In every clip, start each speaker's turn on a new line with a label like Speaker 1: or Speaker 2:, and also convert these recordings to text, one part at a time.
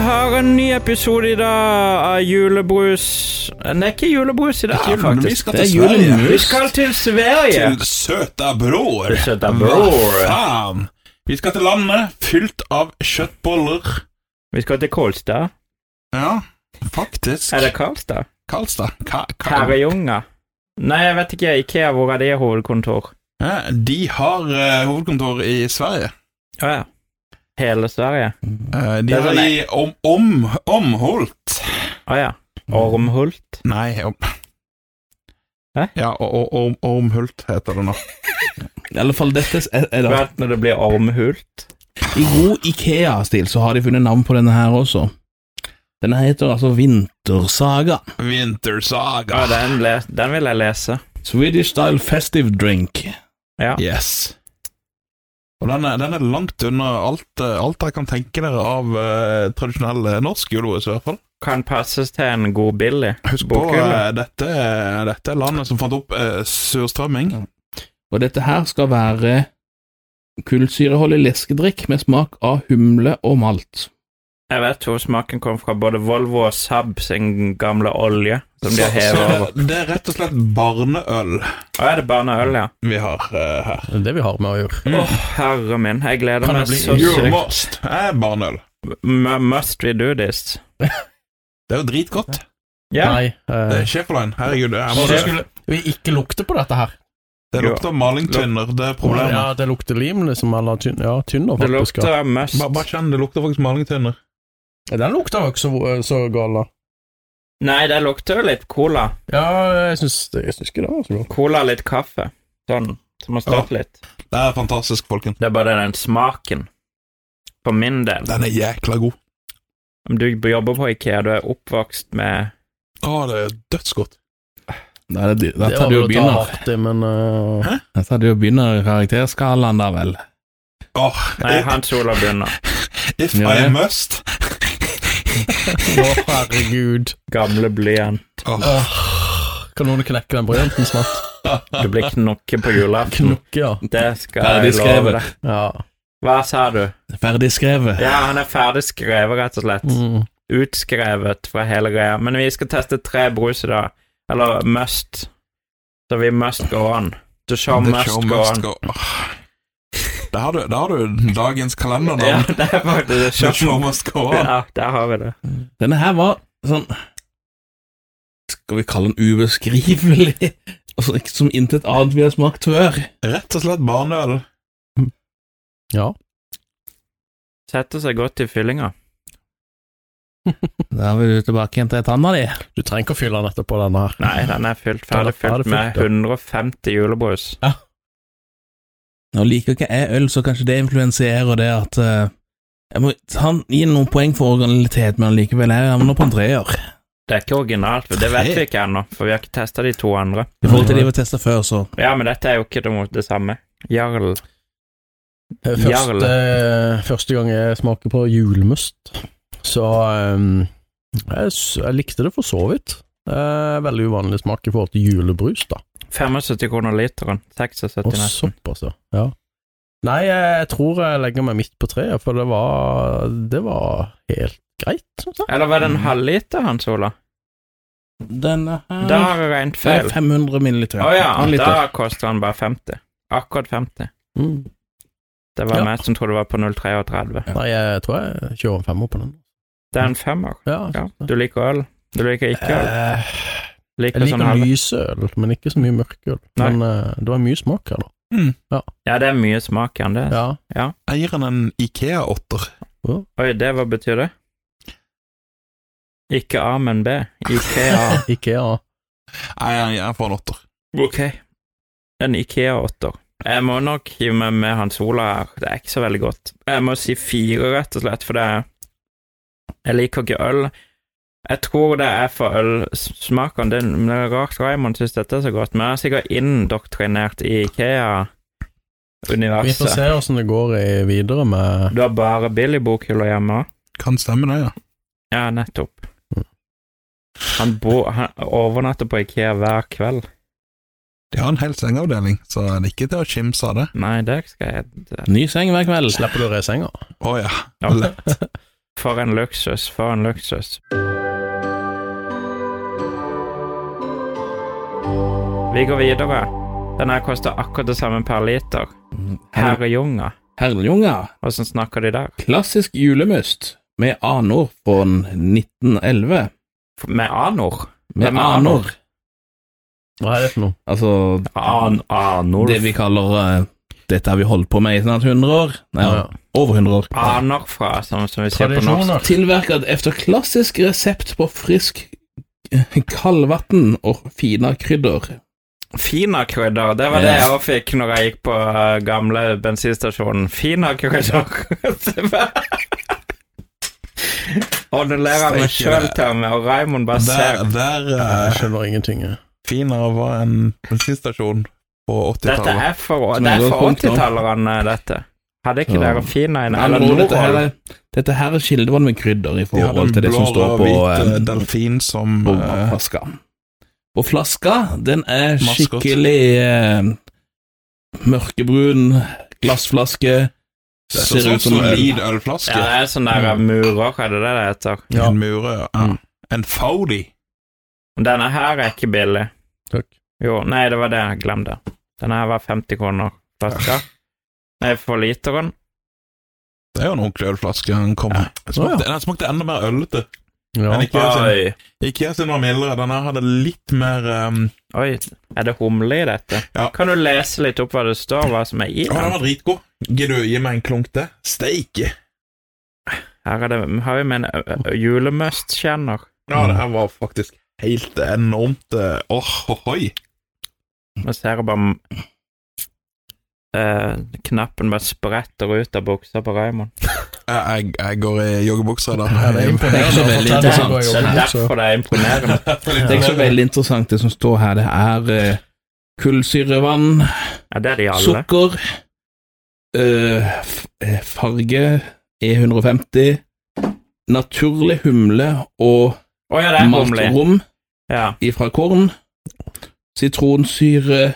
Speaker 1: har en ny episode i dag av julebrus Det er ikke julebrus i dag,
Speaker 2: Ikke julebrus, vi
Speaker 1: faktisk.
Speaker 2: skal
Speaker 1: Det er
Speaker 2: til
Speaker 1: julemus.
Speaker 2: Sverige.
Speaker 1: Vi skal til Sverige.
Speaker 2: Til søta bror.
Speaker 1: Til søta bror.
Speaker 2: Hva faen? Vi skal til landet fylt av kjøttboller.
Speaker 1: Vi skal til Kolstad.
Speaker 2: Ja, faktisk.
Speaker 1: Er det Karlstad?
Speaker 2: Karlstad? Ka Ka
Speaker 1: Herrejunga? Nei, jeg vet ikke. Ikea, hvor er det hovedkontor?
Speaker 2: ja, de har eh, hovedkontor i Sverige.
Speaker 1: Å ja. Hele Sverige?
Speaker 2: Eh, de
Speaker 1: Det er
Speaker 2: har
Speaker 1: sånn
Speaker 2: i om, om, Omholt.
Speaker 1: Å ja.
Speaker 2: Mm.
Speaker 1: Ormhult?
Speaker 2: Nei, om...
Speaker 1: Hæ?
Speaker 2: Ja, o- o- Orm- Ormhult heter det nå.
Speaker 3: I alle fall dette er, er da.
Speaker 1: Vet når det blir ormhult?
Speaker 3: I god Ikea-stil så har de funnet navn på denne her også. Denne heter altså Vintersaga.
Speaker 2: Wintersaga.
Speaker 1: Ja, den, le den vil jeg lese.
Speaker 3: Swedish style festive drink.
Speaker 1: Ja.
Speaker 2: Yes. Og den er, den er langt unna alt, eh, alt dere kan tenke dere av eh, tradisjonell eh, norsk julebrus, i hvert fall.
Speaker 1: Kan passes til en god billig.
Speaker 2: Husk på,
Speaker 1: Bokhylle.
Speaker 2: eh, dette, dette er landet som fant opp eh, surstrømming.
Speaker 3: Og dette her skal være kullsyreholdig leskedrikk med smak av humle og malt.
Speaker 1: Jeg vet hvor smaken kom fra. Både Volvo og Saab sin gamle olje, som de har
Speaker 2: Så-
Speaker 1: hevet
Speaker 2: så
Speaker 1: over.
Speaker 2: det, det er rett og slett barneøl
Speaker 1: Å, er det barneøl, ja?
Speaker 2: vi har eh, her.
Speaker 4: Det er det vi har med å gjøre.
Speaker 1: Åh, herre min. Jeg gleder
Speaker 4: Kan
Speaker 1: meg
Speaker 4: det bli
Speaker 1: så
Speaker 2: You
Speaker 1: sykt.
Speaker 2: must er barneøl.
Speaker 1: M- Must we do this?
Speaker 2: Det er jo dritgodt.
Speaker 1: Ja.
Speaker 4: Nei.
Speaker 2: Det
Speaker 4: eh,
Speaker 2: er Schæferlein. Herregud, det, her må
Speaker 4: og det
Speaker 2: du-
Speaker 4: skulle vi ikke lukte på dette her.
Speaker 2: det lukter malingtynner. Det er problemet.
Speaker 4: Ja, det lukter lim, liksom. Eller tynn, ja, tynner,
Speaker 1: Det
Speaker 4: faktisk. ja.
Speaker 1: lukter must.
Speaker 2: Bare, bare kjenn, det lukter faktisk malingtynner.
Speaker 4: Ja, Den lukter jo ikke så, eh, så gal, da.
Speaker 1: Nei, det lukter jo litt cola.
Speaker 4: Ja, jeg syns, jeg syns ikke det var så altså. godt.
Speaker 1: Cola litt kaffe. Sånn. Som har stått litt.
Speaker 2: Det er fantastisk, folkens.
Speaker 1: Det er bare den smaken. For min del.
Speaker 2: Den er jækla god.
Speaker 1: Om du jobber på Ikea, du er oppvokst med
Speaker 2: Å, det er dødsgodt.
Speaker 3: Da er det, da
Speaker 4: Det
Speaker 3: tar
Speaker 4: var
Speaker 3: du
Speaker 4: jo
Speaker 3: og
Speaker 4: å ta
Speaker 3: begynner.
Speaker 4: hardt i, men eh,
Speaker 3: Da tar du og begynner karakterskalaen, da vel.
Speaker 2: Åh,
Speaker 1: Nei, Hans Olav Gunnar.
Speaker 2: if
Speaker 3: Ja,
Speaker 2: I
Speaker 3: ja.
Speaker 2: must
Speaker 4: Å, herregud.
Speaker 1: Gamle blyant.
Speaker 2: Åh,
Speaker 4: Åh, kan noen knekke den bryanten snart?
Speaker 1: Du blir knokket på julaften.
Speaker 4: Knokke, ja.
Speaker 1: Det skal
Speaker 3: Ferdig
Speaker 1: jeg love
Speaker 3: skrevet.
Speaker 1: deg.
Speaker 4: ja.
Speaker 1: Hva sa du?
Speaker 3: Ferdig skrevet.
Speaker 1: Ja, han er ferdig skrevet, rett og slett.
Speaker 4: Mm.
Speaker 1: Utskrevet fra hele greia. Men vi skal teste tre brus i dag. Eller must. Så vi must go on. The show
Speaker 2: The
Speaker 1: must
Speaker 2: show
Speaker 1: go
Speaker 2: must
Speaker 1: on.
Speaker 2: go Åh. Der har du, der har du dagens kalender, da.
Speaker 1: Ja, det er faktisk the
Speaker 2: The
Speaker 1: show.
Speaker 2: show must go on.
Speaker 1: Ja, der har vi det.
Speaker 3: Denne her var sånn Skal vi kalle den ubeskrivelig? Altså, ikke som intet annet vi har smakt før.
Speaker 2: Rett og slett barneøl.
Speaker 4: ja.
Speaker 1: Setter seg godt i fyllinga.
Speaker 3: Da er vi tilbake igjen til tanna di.
Speaker 4: Du trenger ikke å fylle den etterpå, den her.
Speaker 1: Nei, den er fylt,
Speaker 4: Den er
Speaker 1: ferdig fylt
Speaker 4: ferdig
Speaker 1: med
Speaker 4: fylt, ja.
Speaker 1: 150 julebrus.
Speaker 3: Nå liker ikke jeg øl, så kanskje det influenserer det at eh, jeg må, Han gir noen poeng for originalitet, men likevel er han nå på en treer.
Speaker 1: Det er ikke originalt, for det vet vi ikke ennå, for vi har ikke testa de to andre.
Speaker 3: I forhold
Speaker 4: Mm.
Speaker 3: til de vi testa før, så
Speaker 1: Ja, men dette er jo ikke det, mot det samme. Jarl.
Speaker 4: Eh,
Speaker 1: Jarl.
Speaker 4: Første, første gang jeg smaker på julemust, så eh, jeg, s- jeg likte det for så vidt. Eh, veldig uvanlig smak i forhold til julebrus, da.
Speaker 1: 75 kroner literen. 76
Speaker 4: Og
Speaker 1: nesten.
Speaker 4: såpass, ja. ja. Nei, jeg, jeg tror jeg legger meg midt på treet, for det var, det var helt greit, synes jeg.
Speaker 1: Eller var det en halvliter, Hans Ola?
Speaker 3: Denne her
Speaker 1: Da har jeg regnet
Speaker 3: Det er
Speaker 1: feil.
Speaker 3: 500 milliliter.
Speaker 1: Å ja,
Speaker 3: En liter.
Speaker 1: da koster han bare 50. Akkurat 50.
Speaker 4: Mm.
Speaker 1: Det var
Speaker 4: Ja.
Speaker 1: meg som trodde det var på 0,33.
Speaker 4: Nei, jeg tror jeg kjører en femmer på den.
Speaker 1: Det er en femmer.
Speaker 4: Ja, sånn. jeg
Speaker 1: Ja,
Speaker 4: synes det.
Speaker 1: du liker øl. Du liker ikke øl.
Speaker 4: Eh,
Speaker 1: Liker
Speaker 4: jeg
Speaker 1: sånn
Speaker 4: liker
Speaker 1: halv...
Speaker 4: lysøl, men ikke så mye mørkøl.
Speaker 1: Nei.
Speaker 4: Men eh, det var mye smak her, da.
Speaker 1: Ja, det er mye smak i den. det.
Speaker 4: Ja.
Speaker 2: Jeg gir den en Ikea-åtter.
Speaker 1: Oi, det hva betyr det? Ikke A, men B. Ikea.
Speaker 4: Ikea.
Speaker 2: Nei, jeg, jeg får en åtter.
Speaker 1: ok. En Ikea-åtter. Jeg må nok hive meg med Hans Ola her. Det er ikke så veldig godt. Jeg må si fire, rett og slett, for det er Jeg liker ikke øl. Jeg tror det er for ølsmakene. Det er- det er rart Raymond syns dette er så godt, men jeg er sikkert indoktrinert i
Speaker 4: Vi får
Speaker 1: Ikea-universet.
Speaker 4: se åssen det går i videre med
Speaker 1: Du har bare Billy-bokhyller hjemme òg?
Speaker 2: Kan stemme det, ja.
Speaker 1: Ja, nettopp.
Speaker 4: Mm.
Speaker 1: Han, bo, han overnatter på Ikea hver kveld.
Speaker 2: De har en hel sengeavdeling, så det er ikke til å kimse av det.
Speaker 1: Nei, det skal jeg det-
Speaker 3: Ny seng hver kveld.
Speaker 4: Slipper du å re i senga?
Speaker 2: Å ja.
Speaker 1: Ja. For en luksus, for en luksus. Vi går videre. Den her koster akkurat det samme per liter. Herrejunga.
Speaker 3: Herrljunga.
Speaker 1: Åssen snakker de der?
Speaker 3: Klassisk julemust med anor fra 1911.
Speaker 1: Med anor?
Speaker 3: Med
Speaker 1: Hvem er
Speaker 3: anor,
Speaker 4: Hva er det for noe?
Speaker 3: altså
Speaker 1: An anor?
Speaker 3: det vi kaller eh, Dette har vi holdt på med i snart 100 år. Nei,
Speaker 4: Ja.
Speaker 3: over 100 år.
Speaker 1: Aner fra, som, som vi sier på norsk.
Speaker 3: Tilverket efter klassisk resept på frisk eh, kaldvann og fina krydder.
Speaker 1: Finakrydder, det var det jeg òg fikk når jeg gikk på eh, gamle bensinstasjonen. Finakrydder. Det var- Og nå ler jeg meg sjøl til meg, og Raymond bare ser
Speaker 2: Der, der eh,
Speaker 4: Jeg skjønner ingenting. jeg.
Speaker 2: Fina var en bensinstasjon på
Speaker 1: Dette
Speaker 2: 80-tallet.
Speaker 1: er for,
Speaker 3: Som
Speaker 1: det er
Speaker 3: går
Speaker 1: for
Speaker 3: tungt, da.
Speaker 1: 80-tallerne, dette. Hadde ikke
Speaker 3: Ja.
Speaker 1: dere fina inne?
Speaker 3: Eller
Speaker 1: Eller
Speaker 3: nå, dette, her,
Speaker 1: Norol?
Speaker 3: er- dette her er kildevann med krydder i
Speaker 2: De hadde
Speaker 3: forhold
Speaker 2: en
Speaker 3: til det som
Speaker 2: blå
Speaker 3: står
Speaker 2: og
Speaker 3: på,
Speaker 2: hvit eh,
Speaker 3: eh,
Speaker 2: delfin som
Speaker 3: på
Speaker 2: eh,
Speaker 3: flaska. Og flaska, den er
Speaker 2: Maskot.
Speaker 3: skikkelig eh, mørkebrun glassflaske.
Speaker 2: Det ser ut som en lid ølflaske.
Speaker 1: Ja, det er sånn der
Speaker 3: Mm.
Speaker 1: murer, hva er det det det heter?
Speaker 4: Ja.
Speaker 2: En mure, ja.
Speaker 3: Mm.
Speaker 2: En Faudi.
Speaker 1: Denne her er ikke billig.
Speaker 4: Takk.
Speaker 1: Jo, nei, det var det, glem det. Denne her var 50 kroner flaska. Nei, for literen.
Speaker 2: Det er jo en ordentlig ølflaske han kom med. Den Smakte, den smakte enda mer øllete
Speaker 4: Ja.
Speaker 2: enn Ikea sin.
Speaker 3: sånn.
Speaker 2: Ikea sin var mildere. Den her hadde litt mer um,
Speaker 1: Oi, er det humle i dette?
Speaker 2: Ja.
Speaker 1: Kan du lese litt opp hva det står, hva som er i
Speaker 2: Å, den
Speaker 1: den?
Speaker 2: var dritgod. Gidder du gi meg en klunk til? Steike!
Speaker 1: Her er det, har vi med en ø- ø- julemøstkjenner.
Speaker 2: Ja,
Speaker 3: Mm.
Speaker 2: det her var faktisk helt enormt eh, Åh, ohoi!
Speaker 1: Nå ser jeg bare eh, Knappen bare spretter ut av buksa på Raymond.
Speaker 2: Jeg, jeg, jeg går i joggebukser da.
Speaker 4: Ja, det er
Speaker 3: Det er ikke så veldig
Speaker 1: Det
Speaker 3: interessant.
Speaker 1: er derfor det er imponerende.
Speaker 3: Det er ikke så veldig interessant, det som står her. Det er eh, kullsyrevann,
Speaker 1: Ja, det er de alle.
Speaker 3: sukker, eh, f- eh, farge E E150, naturlig humle og
Speaker 1: Å ja, det er humle.
Speaker 3: maltrom
Speaker 1: Ja.
Speaker 3: ifra korn, sitronsyre,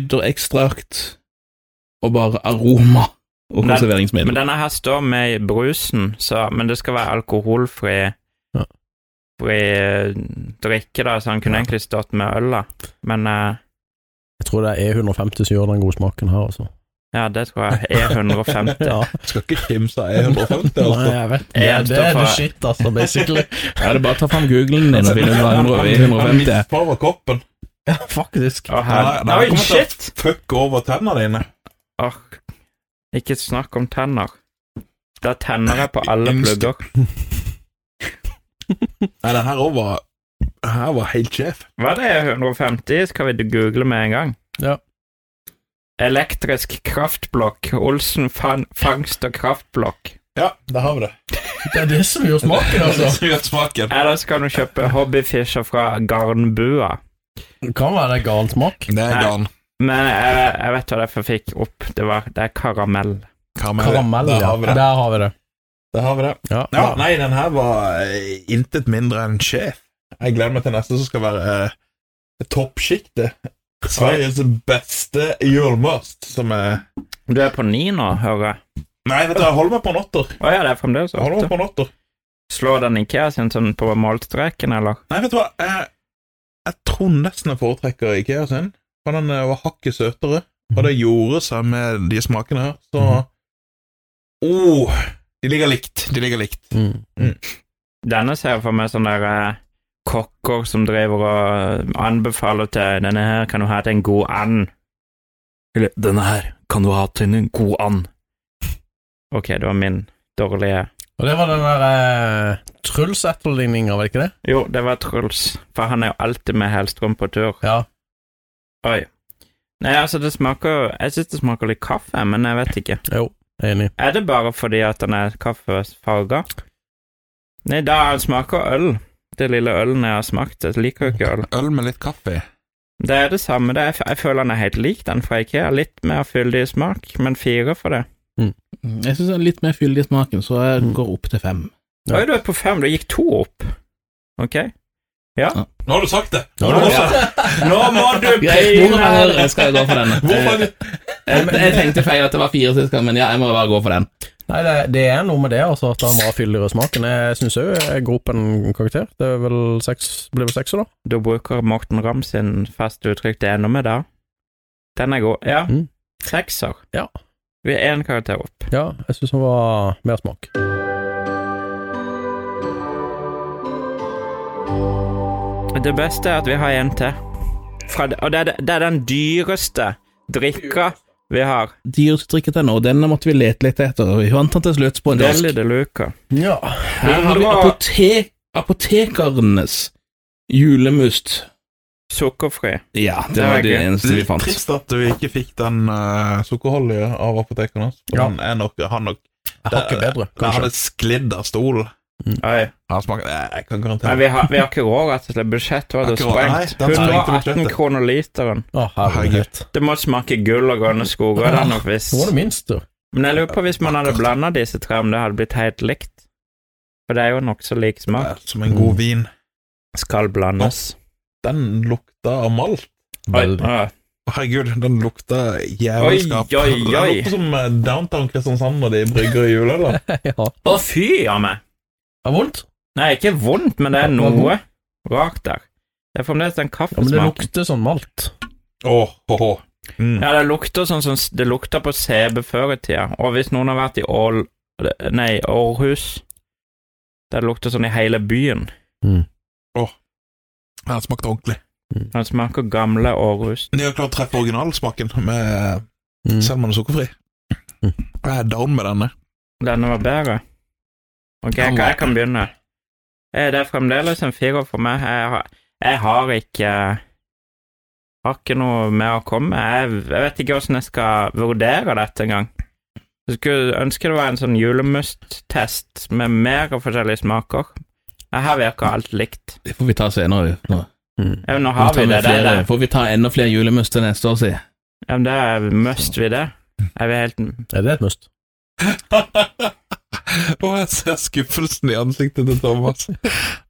Speaker 3: krydderekstrakt og bare aroma og
Speaker 1: Men-
Speaker 3: konserveringsmiddel.
Speaker 1: Men denne her står med i brusen, så, men det skal være alkoholfri
Speaker 4: Ja.
Speaker 1: fri eh, drikke, da, så han kunne egentlig stått med øl, da. Men eh,
Speaker 4: Jeg tror det er E150 som gjør den gode smaken her, altså.
Speaker 1: ja, det tror jeg E er 150.
Speaker 2: Skal ikke kimse av E150,
Speaker 4: Nei,
Speaker 2: altså.
Speaker 4: jeg vet det.
Speaker 1: Jeg
Speaker 4: Det er
Speaker 1: står
Speaker 4: the
Speaker 1: for-
Speaker 4: shit, altså, basically.
Speaker 3: Ja, det er bare å ta fram googlen din og begynne å lage noe i 150.
Speaker 2: misfarver koppen.
Speaker 4: Ja, faktisk.
Speaker 1: Å, her.
Speaker 2: Nei, nei,
Speaker 1: Oi,
Speaker 2: kommer til-
Speaker 1: shit!
Speaker 2: Fuck over tennene dine.
Speaker 1: Åh, ikke snakk om tenner. Da tenner jeg på alle
Speaker 2: Inst-
Speaker 1: plugger.
Speaker 2: Nei, den her òg var den Her var helt sjef.
Speaker 1: Hva er det 150? Skal vi google med en gang?
Speaker 4: Ja.
Speaker 1: Elektrisk kraftblokk. Olsen fan, fangst og kraftblokk.
Speaker 2: Ja, der har vi det.
Speaker 4: Det er det som gjør smaken, altså.
Speaker 2: Gjør smaken.
Speaker 1: Ellers kan du kjøpe hobbyfisher fra Garnbua.
Speaker 4: Det kan være det er gal smak.
Speaker 2: Det er
Speaker 1: Nei.
Speaker 2: garn.
Speaker 1: Men jeg, jeg vet hva det er for jeg fikk opp. Det, var, det er karamell.
Speaker 2: Karamell.
Speaker 4: Karamell,
Speaker 2: Der
Speaker 4: ja.
Speaker 2: har vi det.
Speaker 4: Der har vi det.
Speaker 2: Der har vi det.
Speaker 4: Ja.
Speaker 2: Ja, nei, den her var eh, intet mindre enn sjef. Jeg gleder meg til neste som skal være eh, toppsjiktet. Sveriges beste julemust, som er
Speaker 1: Du er på ni nå, hører jeg.
Speaker 2: Nei, vet du, jeg holder meg på en åtter.
Speaker 1: Å ja, det er fremdeles
Speaker 2: Jeg holder meg
Speaker 1: åtte.
Speaker 2: på en åtter.
Speaker 1: Slår den Ikea sin sånn på målstreken, eller?
Speaker 2: Nei, vet du hva, Eh, jeg, jeg tror nesten jeg foretrekker Ikea sin, for den eh, var hakket søtere, og det gjorde seg med de smakene her, så oh, Mhm. de ligger likt, de ligger likt.
Speaker 4: Mm.
Speaker 1: Denne ser jeg for meg sånn der eh, kokker som driver og eh, anbefaler til Denne her kan du ha til en god and. Eller denne her kan du ha til en god and. Ok, det var min dårlige
Speaker 4: Og det var den der eh, Truls-etterligninga, var det ikke det?
Speaker 1: Jo, det var Truls, for han er jo alltid med Hellstrøm på tur.
Speaker 4: Ja.
Speaker 1: Oi. Nei, altså, det smaker Jeg syns det smaker litt kaffe, men jeg vet ikke.
Speaker 4: Enig.
Speaker 1: Er det bare fordi at den er kaffefarga? Nei, da smaker øl. Det lille ølen jeg har smakt. Jeg liker jo ikke øl.
Speaker 2: Øl med litt kaffe.
Speaker 1: Det er det samme. Det er, jeg føler den er helt lik den fra Ikea. Litt mer fyldig i smak, men fire for det.
Speaker 3: Mm, Jeg syns den er litt mer fyldig i smaken, så jeg går opp til fem.
Speaker 4: Ja.
Speaker 1: Oi, du er på fem. Du gikk to opp. Ok.
Speaker 2: Nå har du sagt det!
Speaker 4: Nå har du sagt
Speaker 1: Nå må du
Speaker 3: Greit, hvor er jeg skal jeg gå for den?
Speaker 2: Hvorfor?
Speaker 3: Jeg, jeg tenkte feil at det var fire sist gang, men ja, jeg må bare gå for den.
Speaker 4: Nei, det, det er noe med det, altså, at han var fyldigere i smaken. Jeg syns òg jeg går opp en karakter. Det er vel seks, blir vel sekser, da.
Speaker 1: Da bruker Morten Ramm sin fast uttrykk det ender med der. Den er god. Ja.
Speaker 4: Mm.
Speaker 1: Sekser.
Speaker 4: Ja.
Speaker 1: Vi er én karakter opp.
Speaker 4: Ja, jeg syns han var mer smak.
Speaker 1: Det beste er at vi har en til. Fra, og det er, det er den dyreste drikka vi har.
Speaker 3: Dyrtrykket til nå, den måtte vi lete litt etter. Vi fant den til slutt på en disk.
Speaker 1: Deli de Luca.
Speaker 4: Ja.
Speaker 3: Her har vi apotek apotekernes julemust.
Speaker 1: Sukkerfri.
Speaker 3: Ja, det
Speaker 1: Det er
Speaker 3: var det
Speaker 1: gøy.
Speaker 3: eneste
Speaker 2: Det
Speaker 3: vi
Speaker 2: er litt
Speaker 3: fant.
Speaker 2: trist at vi ikke fikk den uh, sukkerholdige av apotekeren hans. for
Speaker 4: Ja.
Speaker 2: Den er nok, har nok
Speaker 4: Jeg har ikke bedre,
Speaker 2: Den
Speaker 4: kanskje.
Speaker 2: hadde sklidd av stolen.
Speaker 1: Oi.
Speaker 2: Han smaker Jeg jeg kan
Speaker 1: Nei,
Speaker 2: garantere
Speaker 1: vi har, vi har ikke råd, rett og slett. Budsjettet var
Speaker 2: Har ikke råd. Nei,
Speaker 1: sprengt.
Speaker 2: den sprengte
Speaker 1: 118
Speaker 2: budsjettet.
Speaker 1: kroner literen.
Speaker 4: Å, herregud.
Speaker 1: Det må smake gull og grønne skoger, den nok visst.
Speaker 4: Nå var det minst, du.
Speaker 1: Men jeg lurer på hvis man hadde blanda disse tre, om det hadde blitt helt likt. For det er jo nokså lik
Speaker 2: det
Speaker 1: smak.
Speaker 2: er som en god vin.
Speaker 1: Skal blandes.
Speaker 2: Den lukta av malt.
Speaker 1: Oi,
Speaker 4: Veldig.
Speaker 1: ah,
Speaker 2: Herregud, den lukta
Speaker 1: Oi,
Speaker 2: jævelskap.
Speaker 1: oi, oi.
Speaker 2: Den lukter som eh, Downtown Kristiansand når de brygger i jula. da.
Speaker 4: ja.
Speaker 1: Å, fy av meg!
Speaker 4: Det er vondt.
Speaker 1: Nei, ikke vondt, men det er noe rart der. Det er fremdeles den
Speaker 4: Ja, men det
Speaker 1: kaffesmaken.
Speaker 4: lukter sånn malt.
Speaker 2: Åh, åh, åh. Mm.
Speaker 1: Ja, det lukter sånn som det lukta på CB før i tida. Og hvis noen har vært i Ål... Nei, Århus Det lukter sånn i hele byen.
Speaker 2: Den smakte ordentlig.
Speaker 1: Den smaker gamle Århus.
Speaker 2: De har klart å treffe originalsmaken, med,
Speaker 4: Mm.
Speaker 2: selv om den er sukkerfri.
Speaker 4: Mm.
Speaker 2: Jeg er down med denne.
Speaker 1: Denne var bedre. Ok, jeg, kan- jeg kan begynne. Eh, Det er fremdeles en firer for meg. Jeg har, jeg har ikke eh, Har ikke noe mer å komme med. Jeg, jeg vet ikke hvordan jeg skal vurdere dette engang. Jeg skulle ønske det var en sånn julemust-test med mer av forskjellige smaker. Eh, Her virker alt likt.
Speaker 3: Det får vi ta senere. Nå,
Speaker 4: Mm.
Speaker 1: Ja, men nå
Speaker 3: nå
Speaker 1: har vi
Speaker 3: tar vi
Speaker 1: det. Det er,
Speaker 3: flere.
Speaker 1: det.
Speaker 3: Får vi ta enda flere julemust til neste år, si?
Speaker 1: Ja, men det er must vi det. Er vi helt
Speaker 4: Er det et must?
Speaker 2: Og jeg ser skuffelsen i ansiktet til Thomas.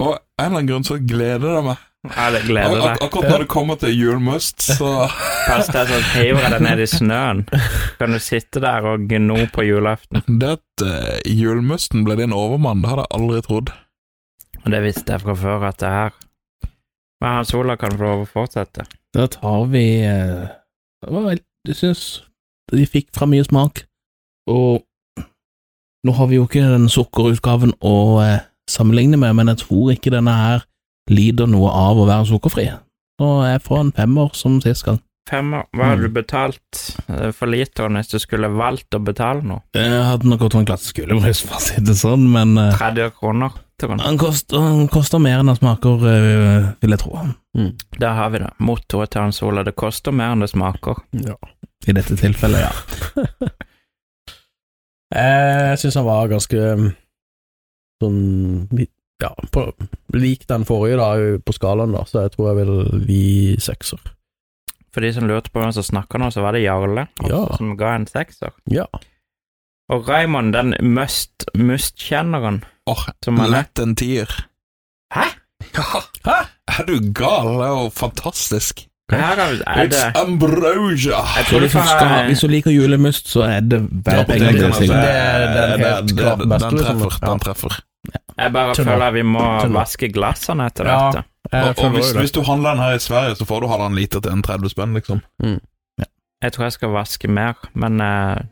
Speaker 2: Og av en eller annen grunn så gleder det meg.
Speaker 1: Ja, det
Speaker 2: Ak
Speaker 1: gleder
Speaker 2: ak
Speaker 1: deg.
Speaker 2: akkurat når det kommer til julemust, så
Speaker 1: Pass deg så hiver jeg deg ned i snøen. Kan du sitte der og gno på julaften.
Speaker 2: Det at eh, julemusten ble din overmann, det hadde jeg aldri trodd.
Speaker 1: Og det visste jeg fra før at det er her. Men Hans Olav kan få lov å fortsette.
Speaker 3: Da tar vi eh, det var vel- Jeg syns de fikk fra mye smak. Og nå har vi jo ikke den sukkerutgaven å eh, sammenligne med, men jeg tror ikke denne her lider noe av å være sukkerfri. Så jeg får en femmer som sist gang.
Speaker 1: Femmer, hva hadde du betalt eh, for literen hvis du skulle valgt å betale noe?
Speaker 3: Jeg hadde nok gått på en klasseskole, hvis man sier det sånn, men eh,
Speaker 1: 30 kroner? tror jeg.
Speaker 3: han, koster, han koster mer enn han smaker, eh, vil jeg tro,
Speaker 1: Der har vi det. Mottoet til Hans Olav. Det koster mer enn det smaker.
Speaker 4: Ja.
Speaker 3: i dette tilfellet, ja.
Speaker 4: Eh, Jeg syns han var ganske um, sånn litt- Ja, på, lik den forrige, da, på skalaen, da, så jeg tror jeg vil gi sekser.
Speaker 1: For de som lurte på hvem som snakka nå, så var det Jarle
Speaker 4: Ja.
Speaker 1: som ga en sekser.
Speaker 4: Ah. Ja.
Speaker 1: Og Raymond, den must, must-kjenneren
Speaker 2: Åh,
Speaker 1: som han er
Speaker 2: Lett en tier.
Speaker 1: Hæ?
Speaker 2: Ja. Er du gal? Det er jo fantastisk.
Speaker 1: Her er, er det
Speaker 2: It's ambrosia!
Speaker 1: Jeg
Speaker 3: Så
Speaker 1: tror du
Speaker 3: hvis du,
Speaker 1: får
Speaker 3: skal, hvis du liker julemust, så er det
Speaker 2: Det,
Speaker 3: hver
Speaker 2: det,
Speaker 3: penger det,
Speaker 2: det,
Speaker 3: Sigurd.
Speaker 4: er den helt
Speaker 2: det-
Speaker 4: klart
Speaker 2: den
Speaker 4: beste, liksom.
Speaker 2: treffer.
Speaker 4: Ja.
Speaker 2: Den treffer.
Speaker 1: Jeg bare
Speaker 4: Tønner.
Speaker 1: føler vi må
Speaker 4: Tønner.
Speaker 1: vaske glassene etter
Speaker 4: Ja.
Speaker 1: dette.
Speaker 3: É,
Speaker 4: Jeg
Speaker 2: Og, og
Speaker 4: føler
Speaker 2: hvis,
Speaker 4: jo det.
Speaker 2: hvis du handler den her i Sverige, så får du halvannen liter til en 30 spenn, liksom.
Speaker 1: Jeg tror jeg skal vaske mer, men eh,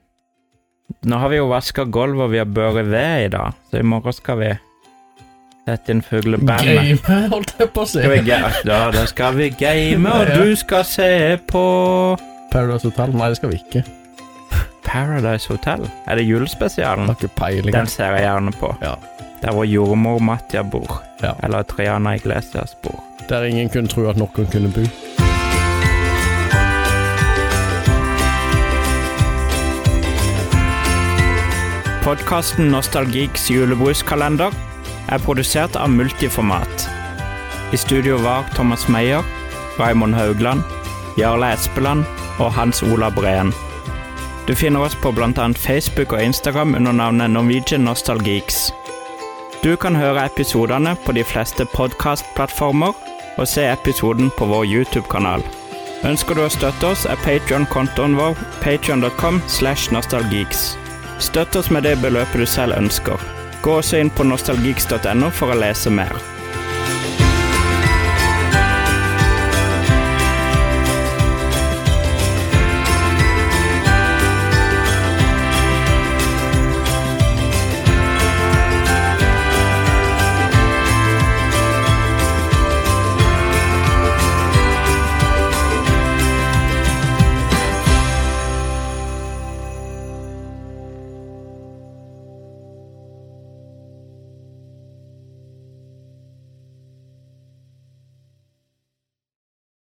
Speaker 1: Nå har vi jo vaska gulvet, og vi har børet ved i dag, så i morgen skal vi sette inn fuglebandet.
Speaker 4: Game, holdt jeg på å si.
Speaker 1: Skal vi ga- Ja, da skal vi game, og
Speaker 4: Ja.
Speaker 1: du skal se på
Speaker 4: Paradise Hotel? Nei, det skal vi ikke.
Speaker 1: Mm. Paradise Hotel. Er det
Speaker 4: Jeg
Speaker 1: julespesialen?
Speaker 4: har ikke peiling.
Speaker 1: Den ser jeg gjerne på.
Speaker 4: Ja.
Speaker 1: Der hvor jordmor Matja bor.
Speaker 4: Ja.
Speaker 1: Eller Triana Iglesias bor.
Speaker 4: Der ingen kunne tro at noen kunne bo.
Speaker 1: Podkasten Nostalgiks julebruskalender er produsert av Multiformat. I studio var Thomas Meyer, Raymond Haugland, Jarle Espeland og Hans Ola Breen. Du finner oss på bl.a. Facebook og Instagram under navnet Norwegian Nostalgiks. Du kan høre episodene på de fleste podkastplattformer og se episoden på vår YouTube-kanal. Ønsker du å støtte oss, er Patreon-kontoen vår patreon.com slash nostalgeeks. Støtt oss med det beløpet du selv ønsker. Gå også inn på nostalgeeks.no for å lese mer.